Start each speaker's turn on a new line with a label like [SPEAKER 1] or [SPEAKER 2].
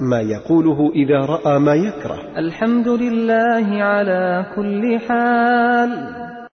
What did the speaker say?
[SPEAKER 1] ما يقوله إذا رأى ما يكره
[SPEAKER 2] الحمد لله على كل حال